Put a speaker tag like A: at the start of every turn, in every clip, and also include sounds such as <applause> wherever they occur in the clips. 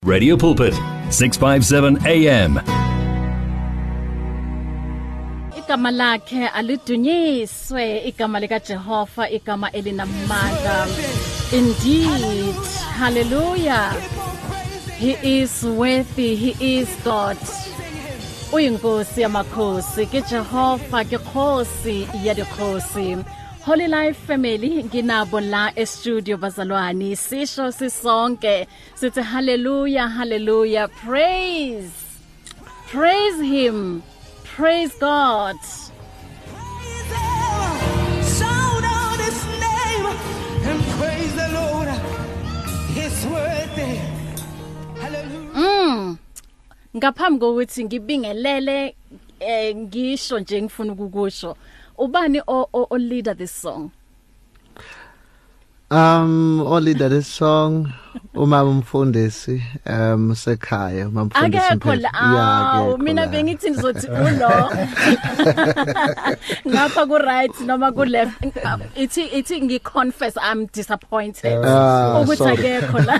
A: Radio Pulpit, 657 AM.
B: igama lakhe alidunyiswe igama likaJehova igama elinamandla indeed hallelujah he is worthy he is god uyinkosi yamakhosi ke Jehova ke khosi ya dikhosi Holy Life Family nginabo la e-studio bazalwane sisho sisonke sithi hallelujah hallelujah praise praise him praise god
C: Shout out his name and praise the Lord. He's
B: <laughs>
C: worthy. Hallelujah.
B: Mm. ngaphambi kokuthi ngibingelele eh ngisho nje ngifuna ukukusho ubani o o- o leader this song
D: Um only that is song umama umfundisi um sekhaya umama mfundisi
B: akekho
D: Mphethu.
B: la
D: Yeah,
B: awu,
D: akekho
B: mina
D: la.
B: bengithi ngizothi
D: <laughs>
B: ulo ngapha ku right noma ku left ithi ithi ngiconfess i'm disappointed
D: Ah,
B: ukuthi
D: sorry.
B: akekho
D: <laughs>
B: la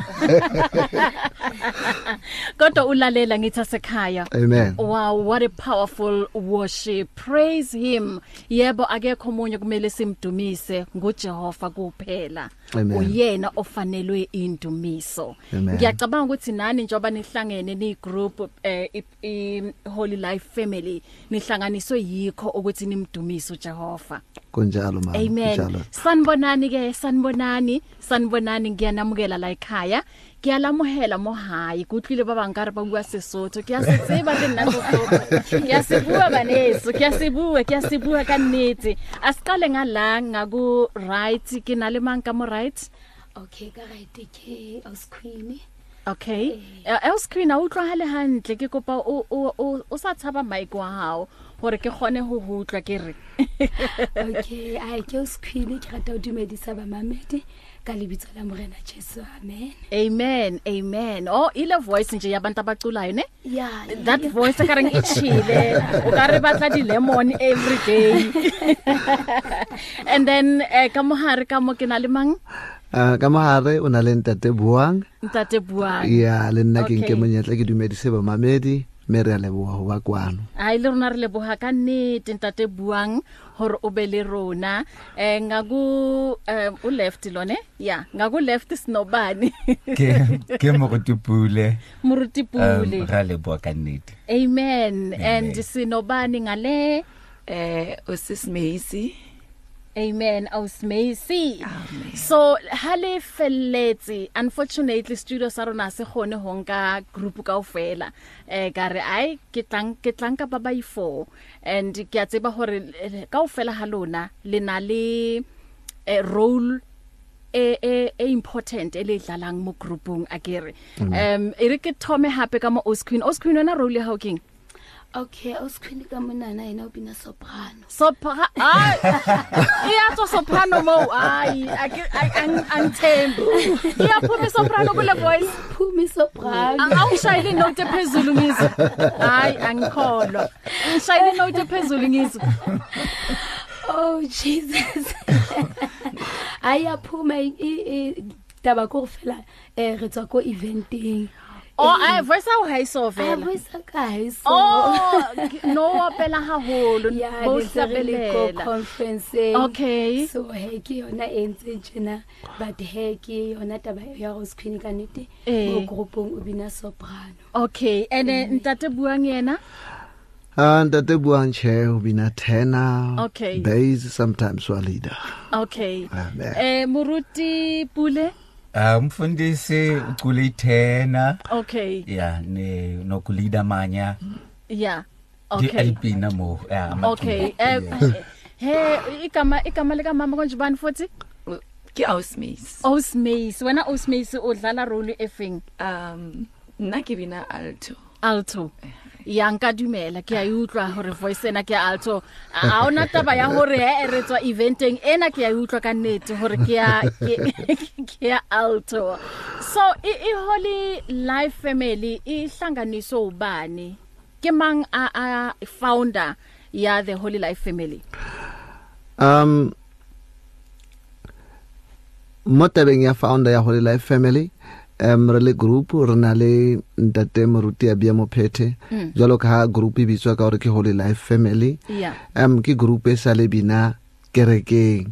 B: kodwa ulalela ngitha sekhaya
D: Amen.
B: Wow, what a powerful worship. Praise him. Yebo akekho umunye kumele simdumise nguJehova kuphela.
D: Amen.
B: Uyena ofanelwe indumiso.
D: Amen.
B: Ngiyacabanga ukuthi nani njoba nihlangene ni group eh i- i Holy Life Family nihlanganiswe yikho ukuthi nimdumise uJehova.
D: kunjalo mama
B: Amen.
D: kunjalo
B: Sanibonani ke, sanibonani, sanibonani ngiyanamukela la ekhaya. Ngiyalamuhela mohayi, kutlile baba ngare ba bua Sesotho. Kiyasitsiba ke nna Sesotho. Kiyasibua baneso, kiyasibua, kiyasibua ka nnete. Asiqale ngala ngaku right ke nale mang ka mo right.
E: okay ka right ke house queen
B: Okay. Eh, Else screen a utlwa le hantle ke kopa o o o- o sa tshaba mic wa hao hore ke gone ho ho utlwa ke re.
E: okay a ke house queen ke rata o dumedisa bamamedi ka lebitso la morena jesu amen
B: Amen. Amen. Oh, ile voice nje yabantu abaculayo ne?
E: ya
B: that voice ka reng e chile o ka re batla di lemon every day <laughs> and then eh ka mohare ka mo ke na le mang
D: Ah, ka mahare una le ntate buang
B: ntate buang
D: ya le nna ke nke
B: Ah. Okay.
D: monyetla ke dumedise ba mamedi me re a leboha ho ba kwano
B: ai le rona re leboga ka nnete ntate buang gore o be le rona eh ngaku eh o left lone ya ngaku left snobane
F: ke
B: <laughs>
F: ke mo go tupule Um,
B: moruti pule
F: ra le bua ka nnete
B: amen and
F: Amen.
B: sinobane ngale
G: eh osisimeyisi
B: Amen. Ausmesi. So hale feletse unfortunately studio sa rona ha se gone ho nka group kaofela. Eh ka re ai ke tlang ke tlang ka baba i4 and ke a tseba hore eh, kaofela ha lona le na le eh, role e e e important e le dlalang mo groupong akere. Em ere ke thome hape ka mo Osqueen. Osqueen wena role ya hao keng?
E: okay house queen ka monana yena o bina soprano
B: Sopra ay iyato soprano mo ay angithembi iyaphuma soprano kule voice
E: phumi soprano
B: awushayile inote phezulu ngizwe hayi angikholwa ngishayile inote phezulu ngizwe
E: oh jesus ayaphuma i- i- i- taba ko fela eh re tswa ko eventeng
B: oh
E: E
B: ay voice awu
E: Ah,
B: hayisovela
E: avoisa kae so
B: oh no opela haholo
E: ya
B: bo
E: le
B: sabelela
E: conference eh.
B: Okay.
E: so he ke yona e ntse tjena but he ke yona taba ya go screen ka nete
B: Eh.
E: mo groupong o bina soprano
B: okay ene ntate buang yena
D: Ah, ntate buang che u bina tena
B: Okay.
D: bass sometimes wa leader
B: okay
D: Amen.
B: eh muruti pule
F: Ah, umfundisi ucule ithena
B: okay
F: ya ne nokulida amanya
B: yeah okay
F: DLP namo
B: Okay. Eh he igama igama lika mama konje bani futhi?
G: ke ausmeys
B: Osmace. Wena Osmace udlala role efeng?
G: um nna ke bina alto Eh,
B: Alto. Ya nka dumela ke a e utlwa hore voice ena ke ya alto. A ona taba ya hore he re tswa eventeng ena ke a e utlwa ka nnete hore ke ya ke <laughs> ke ya alto. So i, i Holy Life Family ihlanganiso ubani? Ke mang a a founder ya the Holy Life Family?
D: um motabeng ya founder ya Holy Life Family um re le group re na le ntate moruti a bia mophete jalo ka ha group e bitswa ka gore ke holy life family
B: Yeah.
D: um ke group e sa le bina kerekeng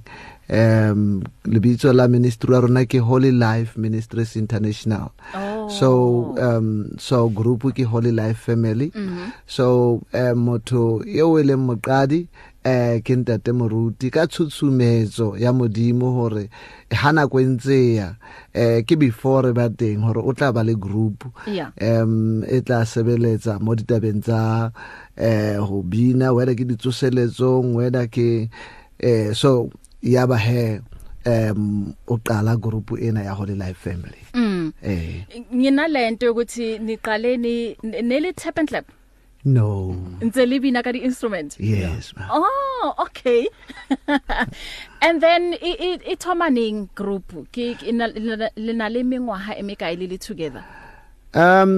D: um lebitso la ministry ya rona ke holy life ministries international
B: Oh.
D: so um so group ke holy life family
B: Mm-hmm.
D: so um motho yo e leng moqadi eh ke ntate moruti ka tshutshumetso ya modimo hore ha nako e ntse ya eh ke before re ba teng hore o tla ba le group
B: Yeah.
D: em e tla sebeletsa mo ditabeng tsa eh ho bina whether ke ditsoseletsong whether ke eh so ya ba he em o qala group ena ya holy life family
B: Mm.
D: eh
B: Ngina lento ukuthi niqale ni neli tap and clap.
D: no
B: Ntse libina ka di instrument.
D: yes ma
B: Oh, okay. <laughs> And then i i- i thomaning group ke ke- ina- lena lena le mengwaha e mekae le le together.
D: um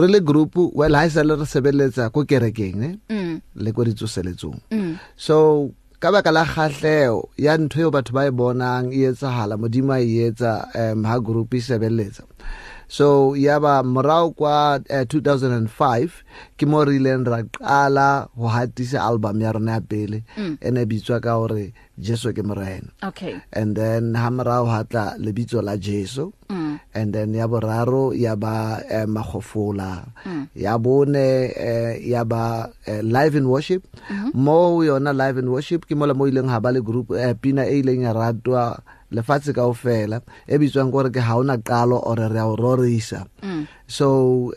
D: re le group well ha sa le re sebeletsa ko kerekeng ne
B: Mm.
D: le ko ditsoseletsong
B: Mm.
D: so ka baka la kgatlheo ya ntho eo batho ba e bonang e etsagala modimo a e etsa um, ha group e sebeletsa so ya ba morao kwa uh, 2005 ke mo re ileng ra qala go hatisa album ya rona ya pele mm. ene bitswa ka gore jeso ke morena
B: Okay.
D: and then ha morao ha tla lebitso la jesu mm. and then ya boraro ya ba eh, magofola mm. ya bone eh, ya ba eh, live in worship mm -hmm. mo ho yona live in worship ke mola mo ileng ha ba le group eh, pina e ileng ya ratwa lefatshe kaofela e bitswang kore ke ha ona qalo ore re a o rorisa mm. so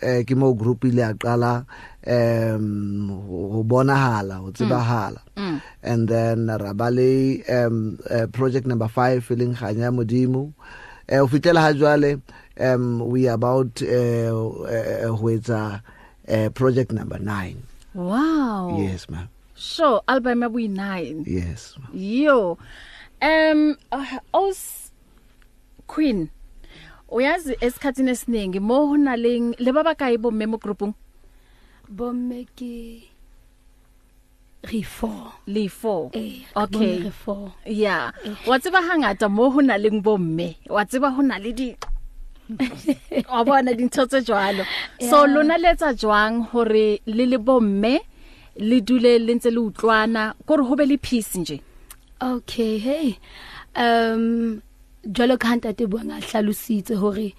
D: eh, ke mo group ile a qala um ho bonahala ho tsebahala mm. and then ra ba le um uh, project number 5 e leng kganya ya modimo eh o fitela ha jwale um we are about eh uh, ho etsa uh, project number 9
B: Wow.
D: yes ma
B: Sure, album ya bu 9.
D: <laughs> yes ma.
B: Yo. Um uh, os Queen. Uyazi esikhathini esiningi mo hona leng le baba kae bo memo groupung
E: bomme ke re four
B: le 4.
E: Eh,
B: Okay.
E: ka bomme re four
B: yeah wa tseba hangata mo ho na leng bomme wa tseba ho na le di <laughs> wa bona dintho tse jwalo so lona le etsa jwang hore le le bomme le dule le ntse le utlwana kore ho be le peace nje
E: okay hey um jalo ka ha ntate buang a hlalositse hore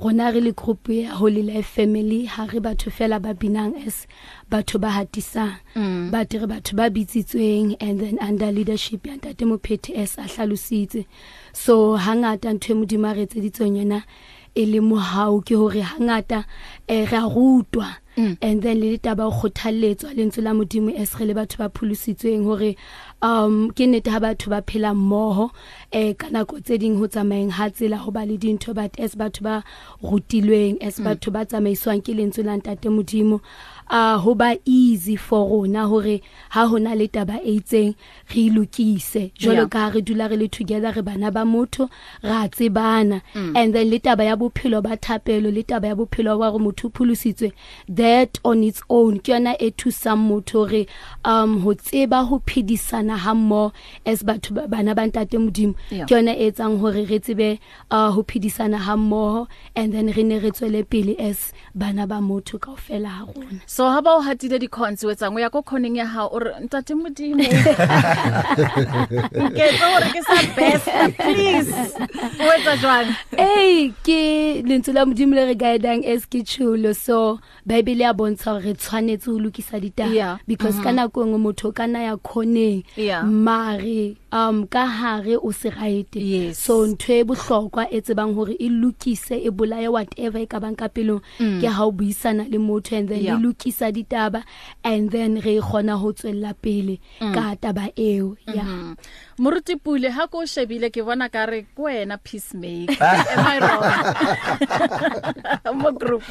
E: rona re le group ya holy life family ha re batho fela ba binang as batho ba hatisang but re batho ba bitsitsweng and then under leadership ya ntate mophethe as a hlalositse so hangata ntho e modimo a re etseditsweng yona e le mohau ke hore hangata eh, re a rutwa and then le ditaba o kgothalletswa lentswe la modimo as re le batho ba pholositsweng hore um ke nnete ha batho ba phela mmoho um ka nako tse ding ho tsamayeng ha tsela ho ba le dintho but as batho ba rutilweng as batho ba tsamaiswang ke lentswe la ntate modimo a ho ba easy for rona hore ha hona le taba e itseng re ilokise
B: Yeah.
E: jwalo ka ha re dula re le together re bana ba motho ra tsebana
B: Mm.
E: and then le taba ya bophelo ba thapelo le taba ya bophelo ba gore motho o pholositswe that on its own ke yona e thusang motho gore um ho tseba ho phedisana ha mmoho as batho ba- bana ba ntate modimo
B: Yeah.
E: ke yona e etsang gore re tsebe uh, ho phedisana ha mmoho and then re ne re tswele pele as bana ba motho kaofela ha rona
B: so ha ba o hatile di-cons o etsang o ya ko coneng ya hao ore ntate modimo nketse hore ke sa best please o etsa jwang
E: ei ke lentswe la modimo le re guidang as ke tsholo so baebele ya bontsha gore re tshwanetse go lokisa
B: Yeah. Mm-hmm.
E: ditaba because ka nako engwe motho o ka na ya kgoneng
B: Yeah.
E: mare um ka hare o se raete
B: Yes.
E: so ntho e bohlokwa e tsebang gore e lokise e bolaye whatever e ka bang ka pelong ke ha o buisana le motho and then
B: Mm. Yeah.
E: e lokisa ditaba and then re kgona ho tswella pele
B: Mm.
E: ka taba eo ya
B: Mm-hmm. moruti pule ha ko o shebile ke bona ka re ke wena peacemaker am i wrong <laughs> mo group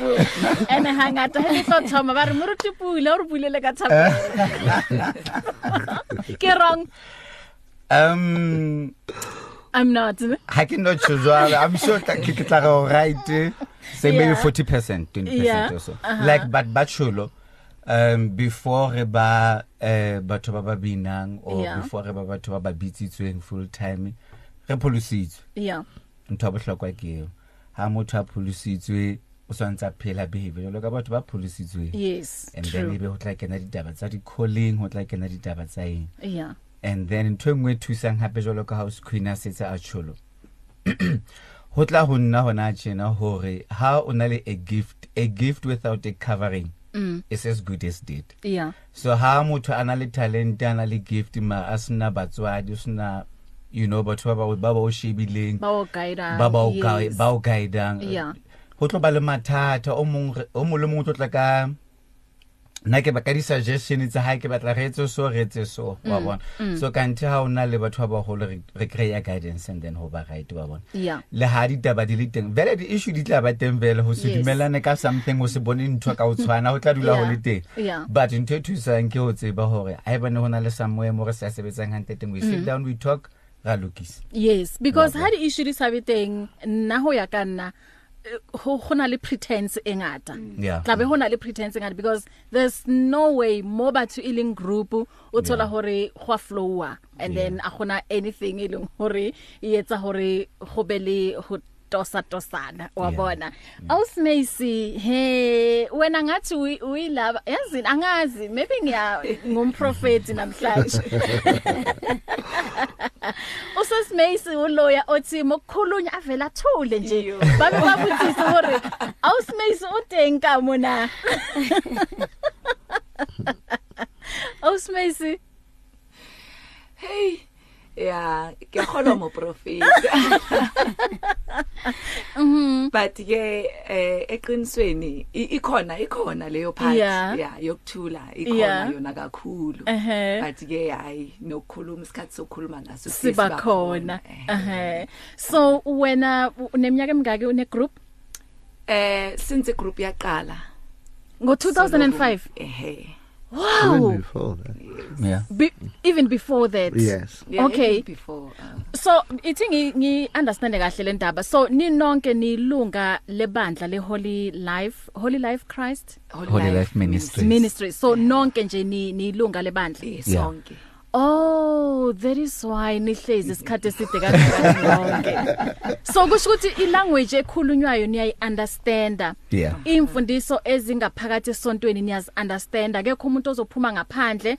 B: and hangata he tlo thoma ba re moruti pule o re bulele ka thapelo <laughs>
F: <laughs>
B: ke wrong
F: um
B: i'm not
F: ha ke no tsho jwalo i'm sure tla- ke ke tla go right eh, say maybe
B: Yeah.
F: 40% 20%
B: Yeah. Uh-huh.
F: or so like but ba tsholo um before re ba eh batho ba ba binang or
B: Yeah.
F: before re ba batho ba ba bitsitsweng full time re pholositswe
B: yeah
F: ntho ya bohlokwa ke eo ha motho a pholositswe o swantse a phela behave jalo ka batho ba pholositsweng
B: yes
F: and then
B: true
F: ebe go tla kena ditaba tsa di-calling go tla kena ditaba tsa eng
B: yeah
F: and then ntho e nngwe e thusang gape jalo ka house queen a setse a <clears throat> tsholo go tla go nna gona tjena gore ha o na le a gift a gift without a covering
B: mm
F: is as good as dead
B: yeah
F: so ha motho a na le talente a na le gift ma a sena batswadi o sena you know batho ba ba ba ba o shebileng
B: ba o guide
F: ba ba o gui- ba o guidang
B: Yeah.
F: go tlo ba le mathata o mongwe o mongwe le mongwe o tlo tla ka nna ke ba ka di-suggestion tsa gae ke batla reetse so reetse so
B: Mm,
F: wa bona so kante ga o na le batho ba bagolo re re kry-a guidance and then go ba right wa bona
B: yeah
F: le ha ditaba di le teng vele di-issue di tla ba teng vele go se
B: Yes.
F: dumelane ka something go se bone ntho ka go tshwana go tla dula go
B: Yeah.
F: le teng
B: Yeah.
F: but ntho e thusang ke go tseba gore ga e bane go na le samoe mo re sa sebetsang gante teng we
B: Mm.
F: sit down we talk ra lokisa
B: yes because ha di issue di sabe teng nna ho ya ka nna eh, ho ho na le pretense e ngata
F: Yeah.
B: tla be ho na le pretense e ngata because there's no way mo batho e leng group o thola hore go a flowa and then a gona anything e leng hore e etsa hore go be le ho tosa tosana wa
F: Yeah.
B: bona ausmacy he wena ngathi uyi- uyilava yazi angazi maybe ngiya ngumprofeti namhlanje usesimayisi uloya othi mokukhulunya avela athule nje
G: Iyo.
B: babe babutsisa hore awusimayisi uteng ka mona awusimayisi
G: hey ya ke
B: <laughs>
G: kgolwa moprofeta
B: Mm-hmm.
G: but ke um eqinisweni i- ikhona ikhona leyo part
B: Yeah.
G: ya yokuthula
B: Yeah. Uh-huh.
G: ikhona yona kakhulu
B: Ehhe.
G: but ke hayi nokukhuluma isikhathi sokukhuluma ngaso siye
B: siba khona
G: Ehhe.
B: ehe so wena uneminyaka emingaki une group
G: eh since igroup yaqala
B: ngo2005
G: so lokhu- ehe
D: Even
B: wow
D: before that.
F: yeah.
B: Be, even before that
D: Yes.
G: Yeah,
B: Okay.
G: even before um,
B: so ithi ngi- ngi understand kahle le ndaba so ninonke nilunga lebandla le Holy Life Holy Life Christ
G: Holy
F: Holy Life Ministry. Yes.
B: ministry so nonke nje ni nilunga lebandla
G: Yes,
F: Yeah.
G: sonke
B: oh that is why
G: <laughs>
B: nihlezi isikhathe eside kangaka nonke so kusho ukuthi ilanguage ekhulunywayo niyayi understanda
F: Yeah.
B: imfundiso ezingaphakathi esontweni niyazi understanda akekho umuntu ozophuma ngaphandle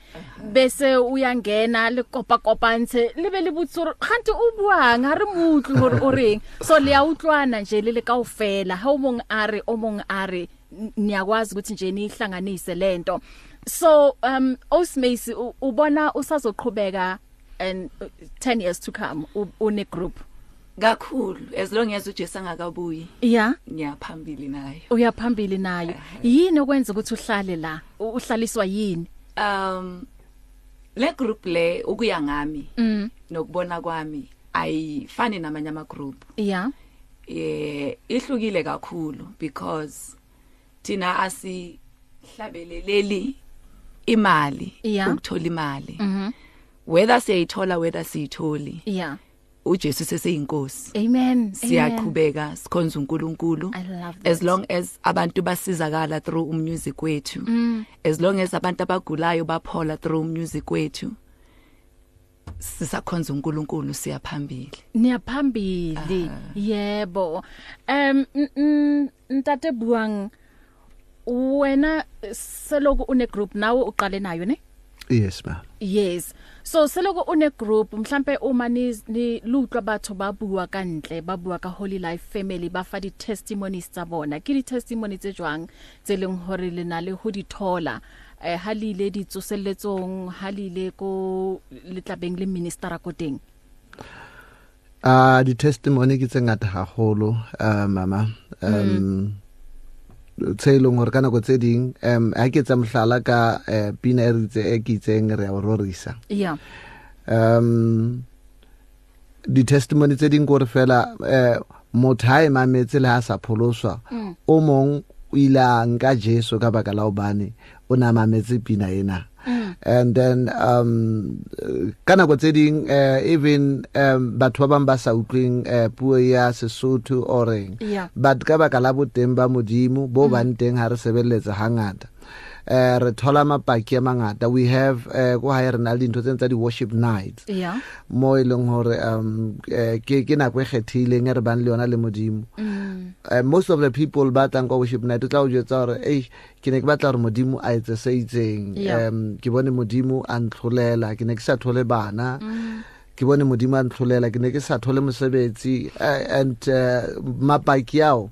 B: bese uyangena likopa kopantse libe libutsuru kanti ubuang ha re mutlu hore o reng so le ya utlwana nje le le kaofela ha omong are omong are n- niyakwazi ukuthi nje nihlanganise lento so um osmacy ubona usazoqhubeka and uh, 10 years to come u- une group
G: kakhulu as long as ujesu angakabuyi
B: yeah
G: ngiyaphambili nayo
B: uyaphambili
G: Eh,
B: nayo yini okwenza ukuthi uhlale la U- uhlaliswa yini
G: um le group le ukuya ngami
B: Mm,
G: nokubona kwami ayifani namanye ama group
B: yeah
G: eh ihlukile kakhulu because thina asi hlabeleleli imali
B: Yeah.
G: ukuthola imali
B: Mhm,
G: whether siyayithola whether siyitholi
B: yeah
G: uJesu seseyinkosi
B: amen Amen.
G: siyaqhubeka sikhonza uNkulunkulu
B: I love that.
G: as long as abantu basizakala through umusic wethu
B: Mm.
G: as long as abantu abagulayo baphola through umusic wethu sisakhonza uNkulunkulu siyaphambili
B: niyaphambili
G: Ah.
B: yebo um n- n- ntate buang wena eh, seloku une group nawe uqale nayo ne
D: Yes, ma'am.
B: yes so seloko une group mhlambe uma ni ni- lutlwa batho ba bua ka ntle ba bua ka holy life family ba fa di testimonies tsa bona ke di testimonies tse jwang tse leng hore le na le ho di thola eh ha le ile di tsoseletsong ha le ile ko letlabeng le minister ko teng
D: Ah, di testimony ke tse ngata haholo, ah, mama. Um tse leng hore kana go tseding em ha ke tsa mhlala ka eh, pina e ritse e ke itseng re a o rorisa
B: yeah
D: um di testimony tse ding gore fela eh motho a e mametse le ha sa pholoswa o mong o ile a nka jesu ka baka la obane o ne a mametse pina ena
B: Mm.
D: and then um eh, ka nako tse ding eh, even um batho ba bangwe ba sa utlweng eh, puo ya sesotho oreng
B: Yeah. Mm.
D: but ka baka la boteng ba modimo bo bang teng ha re sebeletsa hangata eh re thola mapaki a mangata we have eh go ha re na le dintho tsentsa di worship nights
B: yeah
D: mo e leng gore um eh, ke ke nako e kgethileng e re bang le yona le modimo
B: Mm.
D: <sighs> Eh, most of the people ba tlang kwa worship night o tla o jetsa gore ei ke ne ke batla gore modimo a etse se itseng
B: Yeah.
D: um ke bone modimo a ntlholela ke ne ke sa thole bana
B: Mm-hmm.
D: ke bone modimo a ntlholela ke ne ke sa thole mosebetsi Eh, and eh, mapaki ao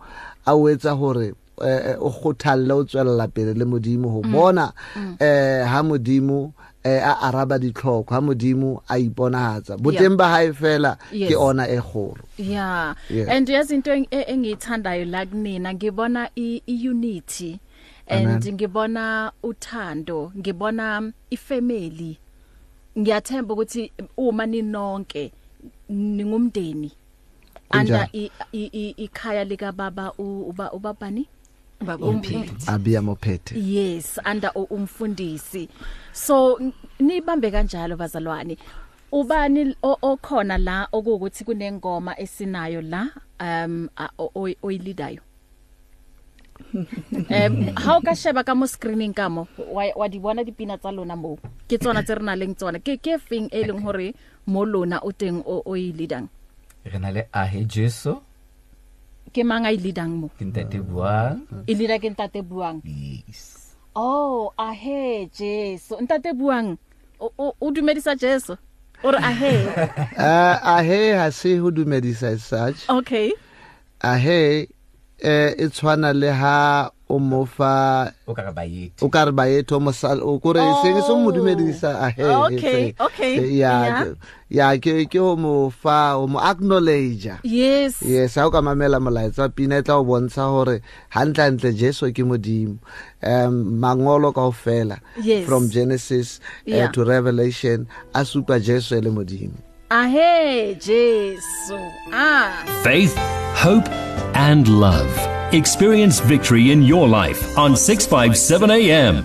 D: a o etsa gore eh, eh, o kgothalle o tswelela pele le modimo
B: Mm-hmm.
D: go bona eh ha modimo eh, a araba ditlhoko ha modimo a iponagatsa boteng ba gae fela
B: Yes.
D: ke ona e kgolo
B: yeah
D: Yeah.
B: and yazi into eng- e- engiyithandayo la kunina ngibona i i- unity and
D: Amen.
B: ngibona uthando ngibona um, ifamily ngiyathemba ukuthi uma ninonke ningumndeni under i- i- i- ikhaya lika baba u- uba ubabani
G: baba
B: Um-
G: umphethe
D: abia mophete
B: yes under u- umfundisi so n- nibambe kanjalo bazalwane ubani o- okhona la okuthi kunengoma esinayo la um a- o- oy- oyilidayo um how ka sheba ka mo screening ka mo wa wa di bona dipina tsa lona mo ke tsona tse re na leng tsona ke ke feng e leng hore mo lona o teng o o e leadang
F: re na le ahe jeso
B: ke mang a e leadang mo
F: ke ntate buang
B: e leader ke ntate buang
F: yes
B: Oh, ahe Jesu. Ntate buang o o- o dumedisa Jesu. O re ahe.
D: a he Eh, ha se ho dumedisa as such
B: Okay.
D: a he eh, e tshwana le ha o mofa
F: o ka re baete
D: o ka re baetho mosal o kore e
B: Oh.
D: seng se mo dumedisa a he
B: Okay,
D: se-
B: okay,
D: se- ya
B: yeah.
D: ke- ya ke ke o mo fa o mo acknowledge
B: Yes.
D: yes ha o ka mamela molaetsa pina e tla o bontsha gore gantlentle jeso ke modimo um mangolo kao fela
B: Yes.
D: from genesis
B: Yeah.
D: uh, to revelation a supa jeso e le modimo
B: Ahe Jesu. Ah.
A: Faith, hope, and love. Experience victory in your life on 657 AM.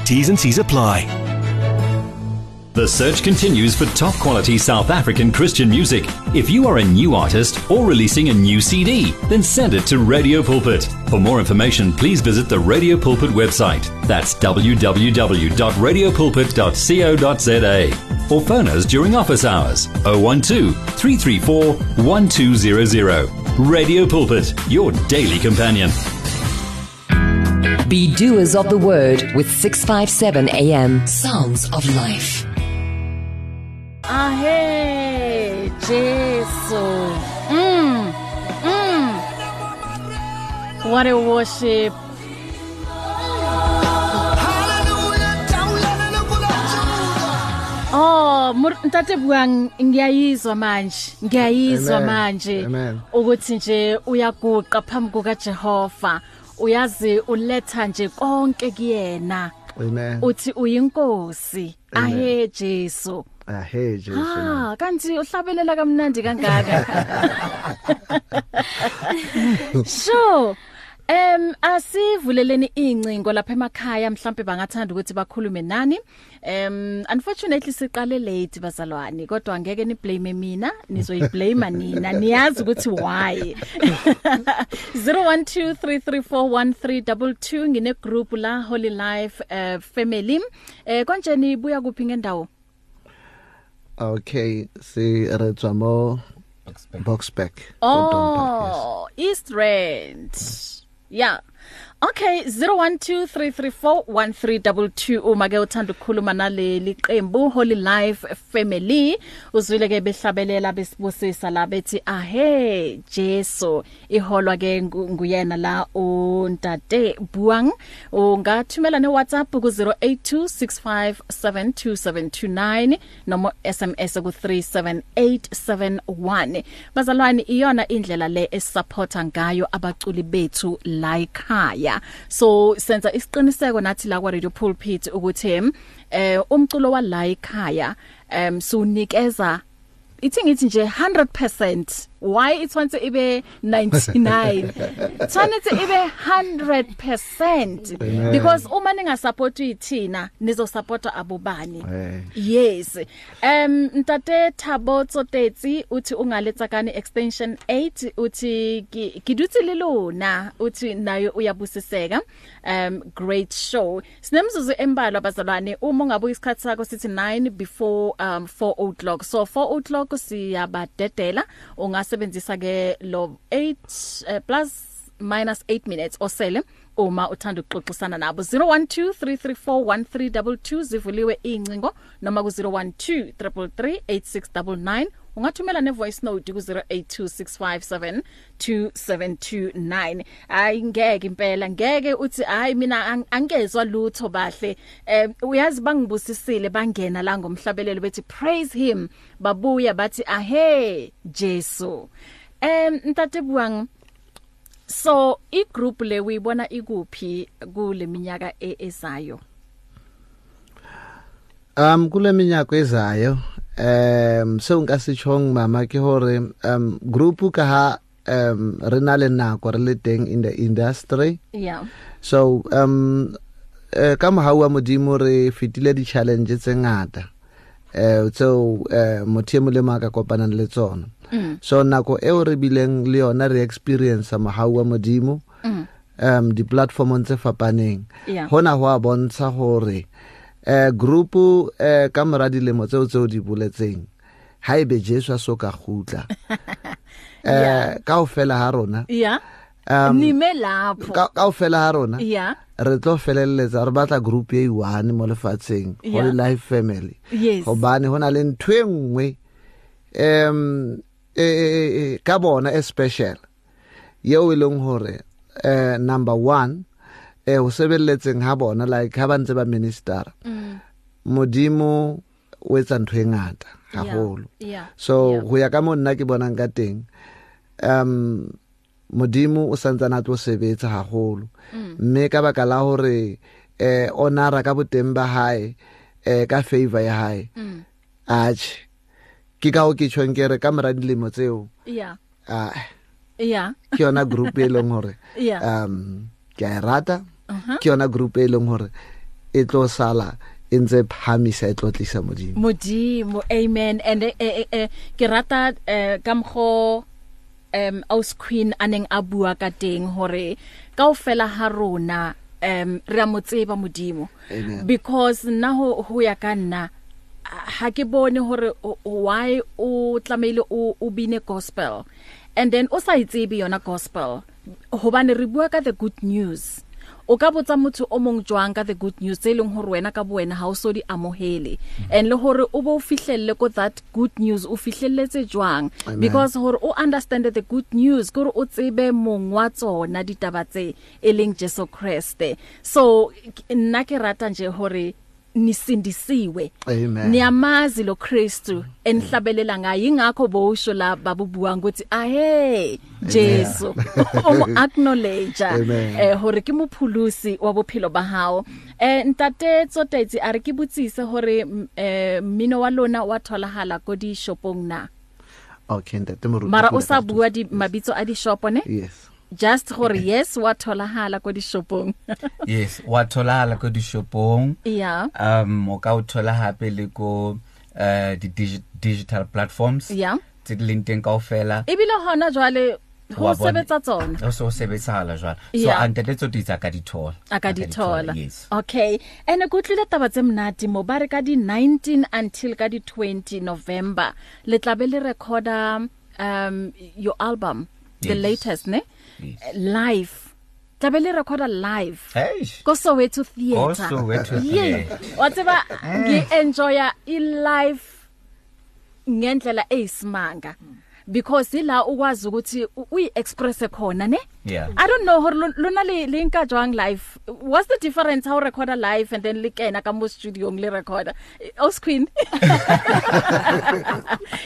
H: T's and C's apply.
A: The search continues for top quality South African Christian music. If you are a new artist or releasing a new CD, then send it to Radio Pulpit. For more information, please visit the Radio Pulpit website. That's www.radiopulpit.co.za. Or phone us during office hours 012 334 1200. Radio Pulpit, your daily companion.
I: Be doers of the word with 657 AM. Sounds of life.
B: Ahe Jesu. Mm. Mm. What a worship. Oh, mur- ntate buang ngiyayizwa manje. Ngiyayizwa
D: Amen.
B: manje
D: Amen.
B: ukuthi nje uyaguqa phambi kukaJehova. Uyazi uletha nje konke kuyena.
D: amen
B: Uthi uyinkosi.
D: Amen.
B: Ahe Jesu.
D: a he jeso
B: Ah, kanti uhlabelela kamnandi kangaka. <laughs> Sho. Em asivuleleni incingo lapha emakhaya mhlambe bangathanda ukuthi bakhulume nani. Em unfortunately siqale late bazalwane kodwa angeke ni blame mina nizoyiblame nina niyazi ukuthi why. <laughs> 0123341322 ngine group la Holy Life eh, family. Eh konje nibuya kuphi ngendawo?
D: okay se re tswa mo boxback
B: Oh, East Rand. Yeah. Okay 0123341322 uma ke uthanda ukukhuluma naleli qembu Holy Life Family uzwile ke behlabelela besibusisa la bethi ahe Jesu iholwa ke ngu- nguyena la untate buang ungathumela ne WhatsApp ku 0826572729 noma SMS ku 37871 bazalwane iyona indlela le esupporta ngayo abaculi bethu like ekhaya so senza isiqiniseko nathi la kwa radio pulpit ukuthi eh umculo wa la ekhaya em sunikeza ithi ngithi nje 100% why it wants ibe 99 tsanetse ibe 100% because uma ninga support ithina nizo support abobani
D: Eh.
B: yes um ntate Thabotso Tetsi uthi ungaletsa kane extension 8 uthi "Ke- ke dutse le lona uthi nayo uyabusiseka um great show sinemzuzu embalwa bazalwane uma ungabuya isikhathi sakho sithi 9 before um 4 o'clock so 4 o'clock siyabadedela ungasebenzisa ke lo 8 uh, plus minus 8 minutes osele uma uthanda ukuxoxisana nabo 0123341322 zivuliwe incingo noma ku 0123338699 ungathumela ne voice note ku 0826572729 ay ngeke impela ngeke uthi ay mina ang- angezwa lutho bahle um uyazi bangibusisile bangena la ngomhlabelelo bethi praise him babuya bathi ahe Jesu Eh, em ntate buang so i group le uyibona ikuphi kule minyaka e- ezayo
D: um kule minyako ezayo um seo nka se tšhong mama ke gore um group ka ha um re na le nako re le teng in the industry
B: yeah
D: so um eh, ka mogau wa modimo re fetile di-challenge tse ngata um tseo um motho e molemo a ka kopanang le tsona so nako eo re bileng le yona re experience mogau wa modimo
B: Mm.
D: um di-platformong tse fapaneng
B: Yeah.
D: gona go a bontsha gore um group um ka mora dilemo tseo tseo di boletseng ha e be jesu a so ka
B: <laughs>
D: gutla um ka go fela ga rona
B: yeah
D: um
B: nime lapho
D: ka go fela ga rona
B: yeah
D: re tlo feleletsa re batla group e one mo lefatsheng holy
B: Yeah.
D: life family
B: Yes.
D: gobane go na le ntho e nngwe um e- e- e- e- ka bona e special yeo e leng gore um number one um go sebeleletseng ga bona like ga ba ntse ba ministera
B: Mm,
D: modimo o etsa ntho e ngata
B: Yeah.
D: gagolo
B: Yeah.
D: so
B: Yeah.
D: go ya ka mo nna ke bonang ka teng um modimo o santsane a tlo sebetsa haholo
B: Mm.
D: mme ka baka la hore eh onara ka boteng ba hae eh ka favor ya hae
B: mm.
D: atjhe ke ka o ke tjhong ke re ka mora dilemo tseo
B: yeah
D: ah,
B: yeah
D: ke yona group e leng hore
B: Yeah.
D: um ke a e rata ke yona group e leng hore e tlo sala e ntse phamisa e tlo tlisa modimo
B: modimo amen and eh, eh, eh, ke rata eh, ka mgo em aus queen aneng a bua ka teng hore kaofela ha rona em re a motseba modimo
D: Amen.
B: because nna ho ho ya ka nna ah, ha ke bone hore o- o- why o tlameile o o bine gospel and then o sa itsebe yona gospel hobane re bua ka the good news o ka botsa motho o mong jwang ka the good news tse leng hore wena ka bo wena ha o so di amohele and le hore o bo o fihlelle ko that good news o fihlelletse jwang
D: Amen.
B: because hore o understand the good news gore o tsebe mong wa tsona ditaba tse e leng Jesu Kriste so k- nna ke rata nje hore nisindisiwe
D: Amen.
B: niyamazi lo Kristu enhlabelela ngayo ingakho bowusho la babubuwa ukuthi ahe
D: <laughs>
B: Jesu umu acknowledge
D: Amen.
B: eh hore ke mophulusi wa bophelo ba hao eh ntate tsotetsi are ke butsise hore mm, eh mino wa lona wa tholahala go di shopong na
D: okay ntate Moruti,
B: mara
D: ke
B: o
D: ile
B: sa
D: ka
B: bua
D: tsosa.
B: di mabitso a di shop ne
D: yes
B: just hore yes wa tholahala go di shopong
F: yes wa tholagala ko dishopong
B: <laughs> yeah
F: um o ka o thola gape le ko um di-digital platforms
B: Yeah. E
F: tse di leng teng kao fela
B: ebile hona jwale ho
F: Wa bona.
B: sebetsa tsona
F: so o sebetsagala jalo so
B: Yeah.
F: anteletso ditsa ka dithola
B: a ka di thola
F: yes
B: okay ene kutlile taba tse mnati mo ba re ka di 19 until ka di 20 November le tlabe le recorda um your album the
F: Yes.
B: latest ne
F: Yes.
B: live tlabe le recorda live
F: Eish.
B: ko Soweto theatre
F: Ko Soweto
B: Yey.
F: theatre.
B: wa tseba ngi enjoya i live ngendlela eyisimanga because ila ukwazi ukuthi u- uyi-expresse khona ne
F: Yeah.
B: i don't know hore lo- lona le le nka jwang live what's the difference how recorda live and then le kena ka mo studio le Eh, recorda os
E: <laughs>
B: queen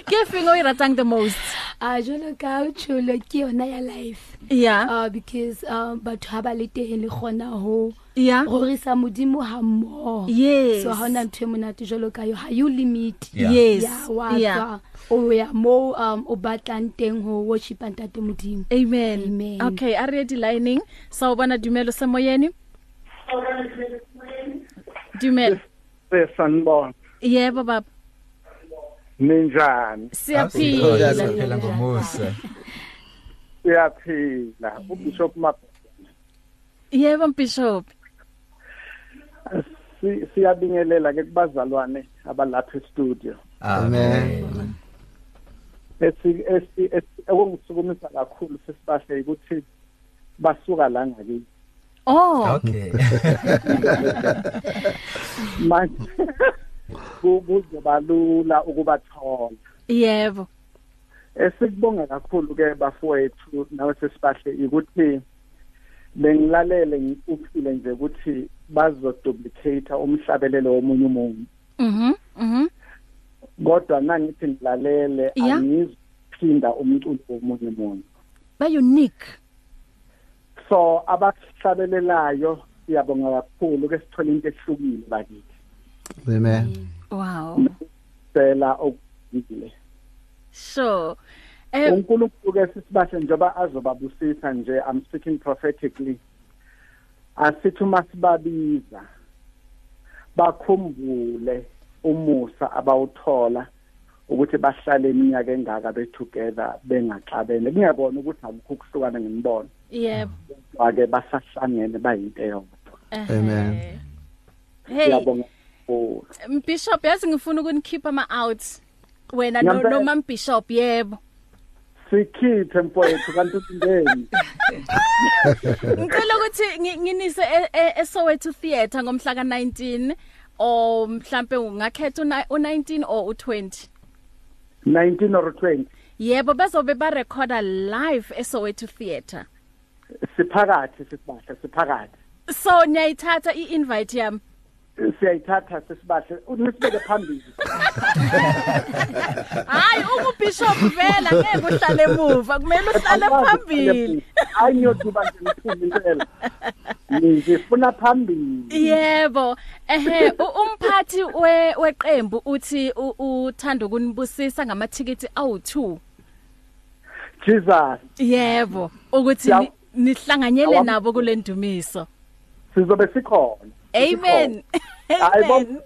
B: ke feng o e ratang the most
E: a jolo Ah, ka tsholo ke yona ya life
B: yeah
E: uh, because um batho ha ba le teng le gona ho
B: yeah
E: rorisa modimo ha mmoho
B: Yes.
E: so ha ona ntho e monate jalo ka yo ha you limit
F: Yeah.
B: yes
E: ya wa
B: yeah
E: tswa o ya mo um, o batlang teng ho Oh, worship ntate modimo
B: amen
E: Amen.
B: okay are ready lining sa o bona dumelo se moyeni dumelo
J: sesanibona
B: yebo baba
J: ninjani
B: Ah, siyaphila <laughs>
F: phela ngomusa
J: siyaphila ubishop ma
B: yebo bishop
J: si- siyabingelela ke kubazalwane abalapha e-studio
F: amen
J: Esi- esi- esi- okungisukumisa kakhulu sesibahle ukuthi basuka la ngakithi
B: oh
F: okay
B: <laughs>
J: manje <laughs> ku- kuzobalula ukubathola
B: yebo
J: esikubonga kakhulu ke Eh, bafowethu nawe sesibahle ukuthi bengilalele ngikuphile nje ukuthi bazoduplicate umhlabelelo womunye umuntu
B: mhm mhm
J: kodwa nangithi ngilalele
B: Ya.
J: angiziphinda umculo womunye umuntu
B: ba unique
J: so abasihlabelelayo siyabonga kakhulu ke sithola into ehlukile bakithi
D: amen
B: wow
J: cela okuzile
B: sure eh
J: uNkulunkulu ke sisibahle njengoba azobabusisa nje I'm speaking prophetically asithi uma sibabiza bakhumbule umusa abawuthola ukuthi bahlale iminyaka engaka betogether bengaxabene kungekona ukuthi akukho ukuhlukana ngemibono
B: yebo eh.
J: ake basahlangene bayinto eyodwa
D: Amen.
B: hey
J: siyabonga kakhulu
B: bishop yazi ngifuna ukunikhipha ama outs wena no
J: Ngempela.
B: noma bishop yebo
J: sikhiphe mfowethu kanti uthindeni
B: ngicela ukuthi ngi- nginise e- e- eSoweto Theatre ngomhla ka19 or mhlambe ungakhetha u19 or u20
J: 19 or 20
B: yebo bezobe ba recorda live eSoweto Theatre
J: siphakathi sisibahle siphakathi
B: so niyayithatha iinvite yami
J: siyayithatha sisibahle nisibeke phambili
B: hayi ungubishop vela ngeke uhlale emuva kumele uhlale phambili
J: hayi ngiyoduba nje mphumi impela ngifuna phambili
B: yebo ehe u- umphathi we- weqembu uthi u- uthanda ukunibusisa ngamathikithi awu2
J: jesus
B: yebo ukuthi
J: Ya-
B: ni- nihlanganyele
J: Awam-
B: nabo kule ndumiso
J: sizobe sikhona
B: amen amen
J: hayi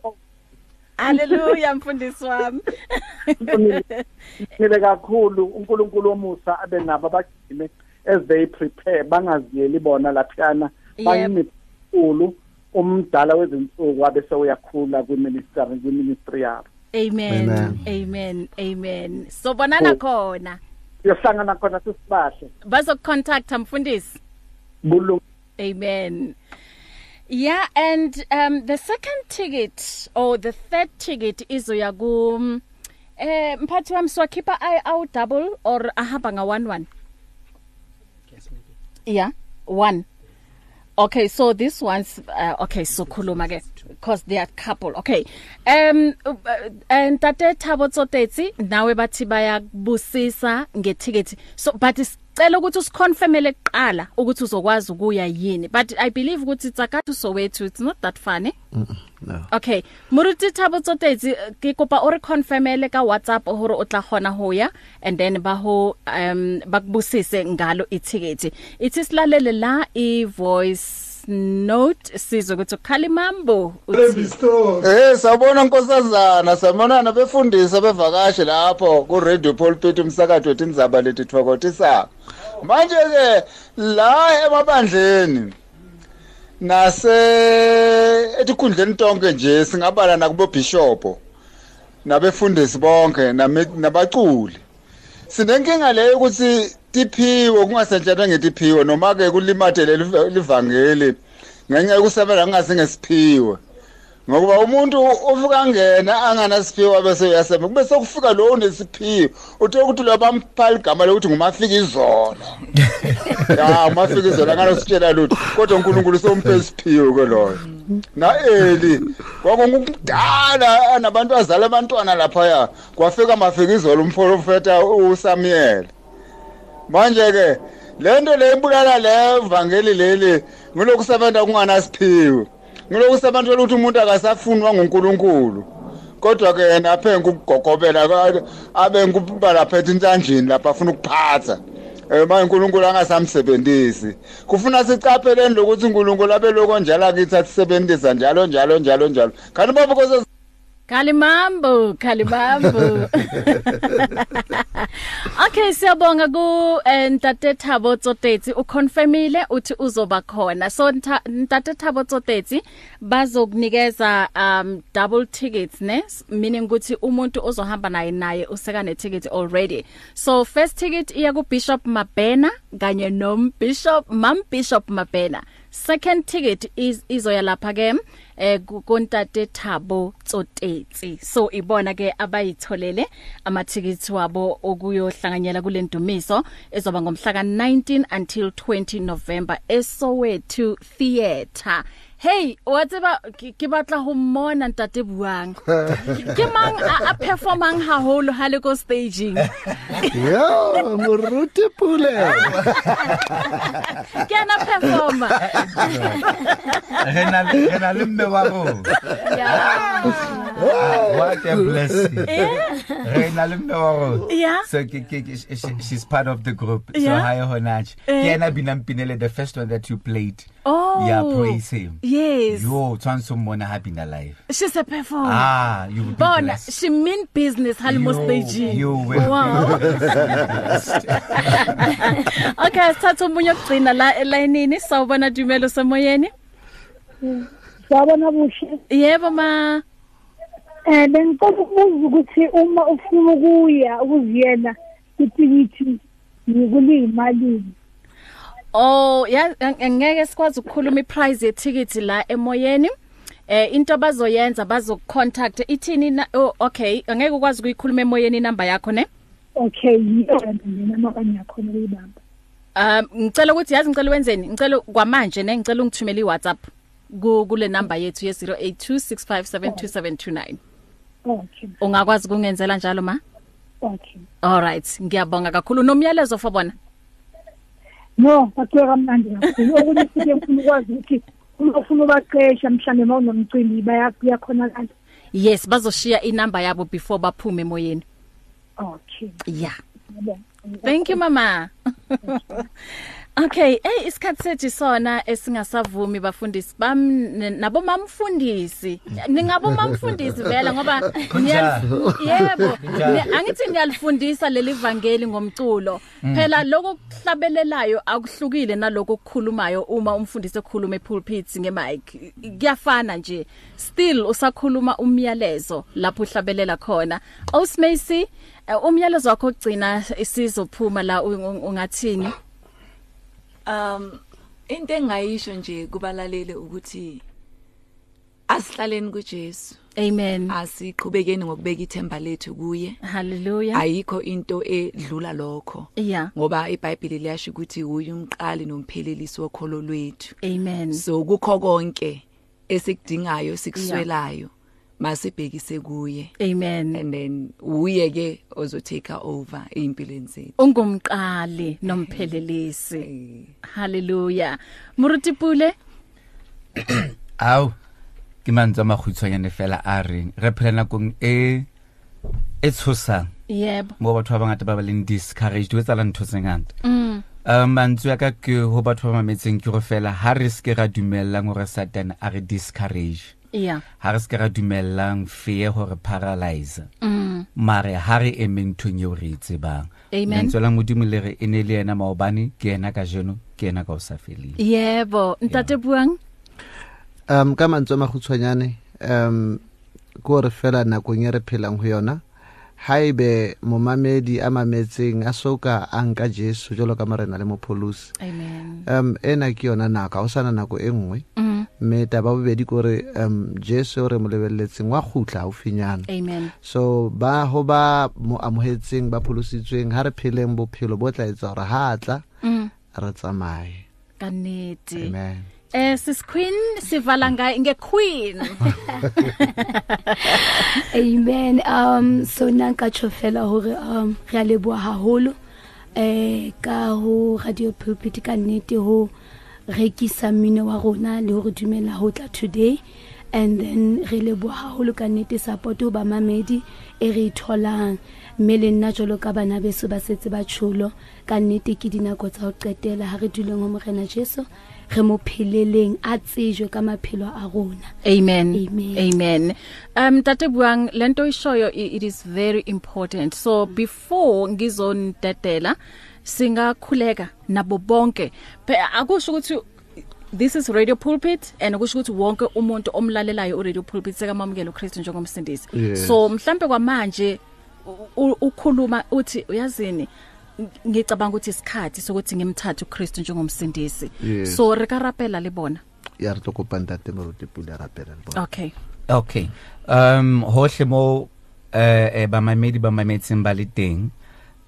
B: haleluya mfundisi wami
J: bonile kakhulu uNkulunkulu omusa abe nabo abagcine as they prepare bangaziyeli bona laphana
B: Yep.
J: banimkhulu umdala wezinsuku abe sewuyakhula kwiministry kwiministry yabo
B: amen
D: Amen.
B: amen amen so bonana
J: Oh.
B: khona
J: siyohlangana khona sisibahle
B: bazokucontacta mfundisi
J: kulunga
B: Amen. Yeah, and um the second ticket or the third ticket izoya ku eh mphathi wami swakhipha i out double or ahamba nga 1 1. Yeah, 1. Okay, so this one's uh, okay, so khuluma ke because they are couple. Okay. Um uh, and Tate Thabo Tsotetsi nawe bathi bayakubusisa ngeticket. So but sicela ukuthi usiconfirmele kuqala ukuthi uzokwazi ukuya yini. But I believe ukuthi it's akathu so wethu it's not that funny.
D: no
B: Okay. Muruti Thabo Tsotetsi uh, ke kopa o re confirmele ka WhatsApp hore o tla gona ho ya and then ba ho um bakubusise ngalo e ithiketi. Ithi silalele la i voice note sizwe ukuthi Khalimambo uthi
K: Eh sabona nkosazana sabonana befundisa bevakashi lapho ku Radio Pulpit umsakazo wetindzaba letithokotisayo. Manje ke la emabandleni nase etikhundleni tonke nje singabala nakubo bishop nabefundisi bonke name- nabaculi. Sinenkinga leyo ukuthi tiphiwe kungasentshatwa ngetiphiwe noma ke kulimathe leli livangeli ngenxa yokusebenzela ngase ngesiphiwe. ngokuba umuntu uvuka ngena anganasiphiwo abese uyasemba kube sekufika lowo unesiphiwo uthe ukuthi lo bampha ligama lokuthi ngumafika izolo ya umafika izolo anganositshela lutho kodwa unkulunkulu somphe isiphiwo ke loyo na-eli kwakungumdala anabantu azala abantwana laphaya kwafika mafika izolo umprofeta usamuyela manje ke le nto le ibulala le vangeli leli ngilokusebenta kunganasiphiwo ngilokusebenta lokuthi umuntu akasafunwa ngunkulunkulu kodwa-ke yena aphenke ukugogobela ka- abe ngubalaphetha inhlanjeni lapho afuna ukuphatha um manje unkulunkulu angasamsebentisi kufuna sicapheleni lokuthi unkulunkulu abe loko njalo akithi asisebentisa njalo njalo njalo njalo kanti babukose
B: Kalimambo, kalimambo. okay, siyabonga ku eh, Ntate Thabo Tsotetsi uconfirmile uthi uzoba khona. So Nta- Ntate Thabo Tsotetsi bazokunikeza um double tickets ne meaning ukuthi umuntu ozohamba naye naye useka ne ticket already. So first ticket iya ku Bishop Mabena kanye nom Bishop Mam Bishop Mabena. Second ticket is izoya lapha ke eh ku- kontate Thabo Tsotetsi so ibona ke abayitholele amathikithi wabo okuyohlanganyela kulendumiso ezoba ngomhla ka19 until 20 November eSoweto Theatre Hey, watseba ke ke batla ho mmona ntate buang. Ke mang a, a performang haholo ha le ko staging?
D: <laughs> yo moruti
B: <laughs>
D: pule
B: Ke ana performer.
F: re na le re na le mme wa rona Ah, what a blessing re na le mme wa
B: Yeah.
F: rona so ke- ke- ke- she- she- she's part of the group so
B: Yeah.
F: hi honach
B: Eh.
F: ke yena binang pinele the first one that you played
B: Oh.
F: yeah praise him
B: Yes. Oh.
F: yo tshwanetse mmona happy na life
B: She's a performer.
F: ah you will be
B: Bona
F: blessed.
B: she mean business halimo
F: Yo,
B: staging.
F: yo, we- <laughs>
B: Okay, sithatha umunye ogcina la elayinini sawubona dumelo semoyeni.
L: Sawubona buhle.
B: Yebo ma.
L: Eh bengicela ukubuza ukuthi uma ufuna ukuya ukuziyela itikithi yikulimali.
B: Oh, ya angeke sikwazi ukukhuluma iprice yethikithi la emoyeni. Eh into abazoyenza bazokucontact ithini na oh, okay angeke ukwazi ukuyikhuluma emoyeni inamba yakho ne?
L: Okay, yona mina makanye khona ukuyibamba.
B: Um ngicela ukuthi yazi ngicela wenzeni ngicela kwamanje ne ngicela ungithumele iWhatsApp ku kule number yethu ye 0826572729
L: Okay,
B: ungakwazi kungenzela njalo ma
L: okay.
B: all right ngiyabonga kakhulu nomyalezo for bona
L: No, bakuye kamnandi kakhulu. Okunye futhi ngifuna ukwazi ukuthi uma ufuna ubaqesha mhlambe mawunomcimbi bayakuya khona kanti.
B: yes bazoshiya inamba yabo before baphume emoyeni
L: Okay.
B: yeah thank you mama Okay, hey isikhathi sethu sona esingasavumi bafundisi bam ne- nabo mamfundisi. Ningabo mamfundisi vela ngoba niya-
C: Kunjalo.
B: yebo
C: Kunjalo.
B: ni- angithi ngiyalifundisa leli vangeli ngomculo.
C: Mm.
B: Phela lokho kuhlabelelayo akuhlukile naloko okukhulumayo uma umfundisi ekhuluma epulpit ngemic. Kuyafana nje. Still usakhuluma umyalezo lapho uhlabelela khona. Osmacy umyalezo wakho ogcina isizophuma la u- u- ungathini?
G: um into engayisho nje kubalalele ukuthi asihlaleni kuJesu
B: amen
G: asiqhubekeni ngokubeka ithemba lethu kuye
B: haleluya
G: ayikho into edlula lokho
B: Yeah.
G: ngoba iBhayibheli liyasho ukuthi uye umqali nomphelelisi wokholo lwethu
B: Amen.
G: so kukho konke esikudingayo sikuswelayo masibhekise kuye
B: amen
G: and then uye ke ozotake over impilo zethu
B: ungumqali nomphelelisi haleluya murutipule
F: ao ke mantswe a makgutshwanyane fela a reng re phela nakong e e tshosang
B: yebo
F: mo batho ba bangata ba ba leng discouraged ho etsala ntho tse ngata
B: mm
F: um mantswe ya ka ke ho batho ba mametseng ke go fela ha re se ke ra dumellang gore satane a re discourage
B: yeah
F: ha re se ke ra dumellang fear gore paralyze
B: mm
F: mare ha re emeng thong eo re e tsebang
B: Amen.
F: lentswe la modimo le re e ne le ena maobane ke ena ka jeno ke ena ka o sa feleng
B: yebo ntate buang
D: um ka mantswe a magutshwanyane um ko re fela nakong e re phelang go yona haebe momamedi a mametseng a soka a nka jesu jalo ka morena le mopholosi
B: amen
D: um ena ke yona nako ga o sana nako e nngwe
B: mm
D: mme taba ya bobedi kore um jesu re mo lebeleletseng wa khutla gaufinyana
B: amen
D: so ba ho ba mo amogetseng ba pholositsweng ha re pheleng bophelo bo tla etsa gore ha a tla
B: Mm,
D: re tsamaye
B: ka nnete
D: amen
B: um sis queen sivala nga- nge-queen
E: <laughs> amen um so nna nka tjho fela hore um re a leboha haholo eh ka ho radio pulpit ka nnete ho rekisa mmino wa rona le ho re dumela ho tla today and then re leboha haholo ka nnete support ho bamamedi e re e tholang mme le nna jwalo ka bana beso ba setse ba tsholo ka nnete ke dinako tsa ho qetela ha re duleng ho morena jeso re mo pheleleng a tsejwe ka maphelo a rona
B: amen
E: Amen.
B: amen um tate buang lento ishoyo i- it is very important so before ngizonidedela singakhuleka nabo bonke Pe- akusho ukuthi this is radio pulpit and akusho ukuthi wonke umuntu omlalelayo uradio pulpit sekamamukela uKristu njengomsindisi
M: Yes.
B: so mhlambe kwamanje u- u- ukhuluma uthi uyazini ng- ngicabanga ukuthi isikhathi sokuthi ngimthathe uKristu njengomsindisi
D: Yes.
B: so rikarapela libona
D: ya re tlo kopang tate moruti pula rapela le bona
B: okay
F: okay um hohle mo eh eh, bamamedi ba mametseng ba le teng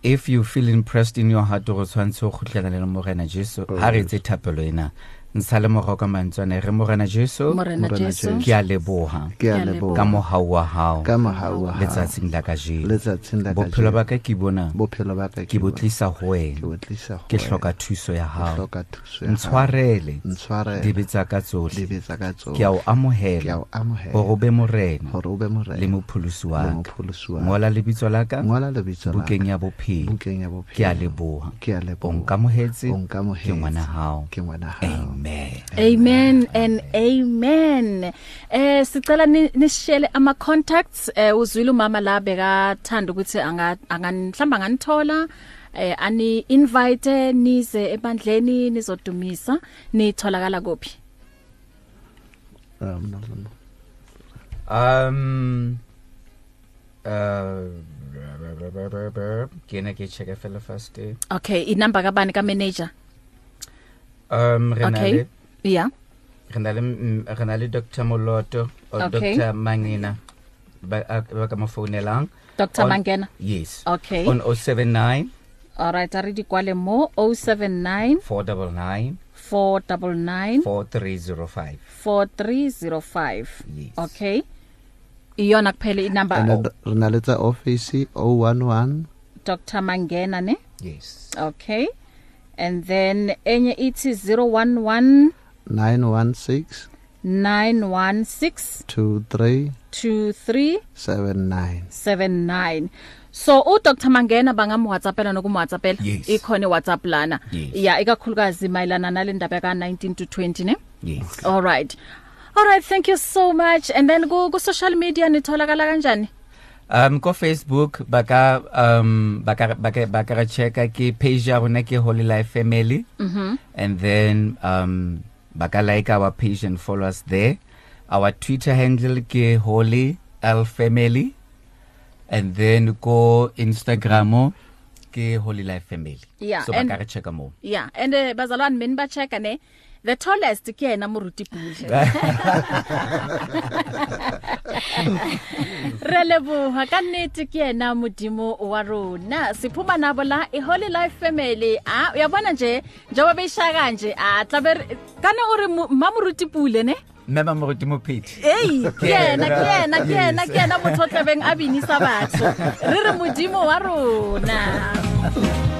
F: if you feel impressed in your heart go tshwantse go khutlela le morena jesu ha re tse thapelo ena ntsha le morago ka mantswana re morena jesu
B: Morena Morena Jesu. Jesu.
F: ke a leboha
D: Ke a leboha.
F: ka mohau wa hao
D: Ka mohau wa hao.
F: letsatsing la ka jeno
D: letsatsing la
F: bophelo ba ka ke bona
D: bophelo ba ka
F: ke botlisa ho wena ke hloka thuso ya hao
D: ya hao.
F: ntshwarele
D: Ntshwarele.
F: dibe tsa ka tsohle
D: Dibe tsa ka tsohle.
F: ke a
D: Ke
F: o
D: a
F: amohela
D: o amohela.
F: hore o be morena
D: gore o be
F: le mopholosi
D: Le
F: wa
D: mopholosi wa ka.
F: ngola lebitso la ka
D: Ngola lebitso la ka.
F: bukeng ya bophelo
D: Bukeng ya bophelo.
F: ke a leboha
D: Ke a leboha.
F: o nkamohetse
D: O nkamohetse.
F: ke ngwana hao
D: ke ngwana hao
F: amen
B: Amen and amen. Eh sicela ni- nisishele ama contacts eh uzwile umama la beka thanda ukuthi anga anga- mhlamba nganithola eh ani invite nize ebandleni nizodumisa nitholakala kuphi?
D: Um, no, no, no.
F: um uh ke ne ke check fela first eh.
B: Okay, inamba kabani ka manager?
F: um re na
B: Okay.
F: le
B: Yeah.
F: re na le mm, re na le dr moloto or
B: Okay.
F: dr mangena ba a- ba ka mo founelang
B: Dr.
F: On-
B: Mangena?
F: yes
B: Okay.
F: on 079
B: All right, ari dikwale mo 079
F: 499
B: 499
F: 4305
B: 4305. Okay. Iyona kuphela inamba
D: And then re na le tsa office o oh one one
B: Dr. Mangena ne?
F: yes
B: Okay. And then enye ithi 011
D: nine one six
B: 916
D: two three
B: 2379.
D: seven nine
B: So uDr Mangena bangamu WhatsAppela nokumwhatsappela
D: Yes.
B: ikhona iWhatsApp lana.
D: Yes.
B: Yeah, ikakhulukazi mayelana nalendaba ka 19 to 20 ne?
F: yes
B: All right. All right, thank you so much. And then ku ku social media nitholakala kanjani?
F: um ko facebook ba ka um ba ka ba ka ba ka checka ke page ya rona ke holy life family
B: Mhm.
F: and then um ba ka like our page and follow us there our twitter handle ke holy l family and then ko instagram ke holy life family
B: Yeah,
F: so ba
B: and-
F: ka re checka mo
B: Yeah, and uh, bazalwane mini ba check ne. The tallest ke yena Muruti
F: <laughs>
B: Bule. mm-hmm. Re leboha ka nnete ke yena modimo wa rona. Siphuma nabo la e Holy Life Family. Ah, uyabona nje e njengoba beshaya kanje, ah tlabe re- kana uri mamuruti pule ne?
F: mema mo godimo pete <laughs>
B: Ei, ke yena, ke yena, ke yena, ke <laughs> yena motho o tlabeng a binisa batho. Re re modimo wa rona.
I: <laughs>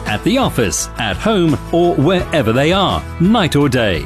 A: at the office, at home, or wherever they are, night or day.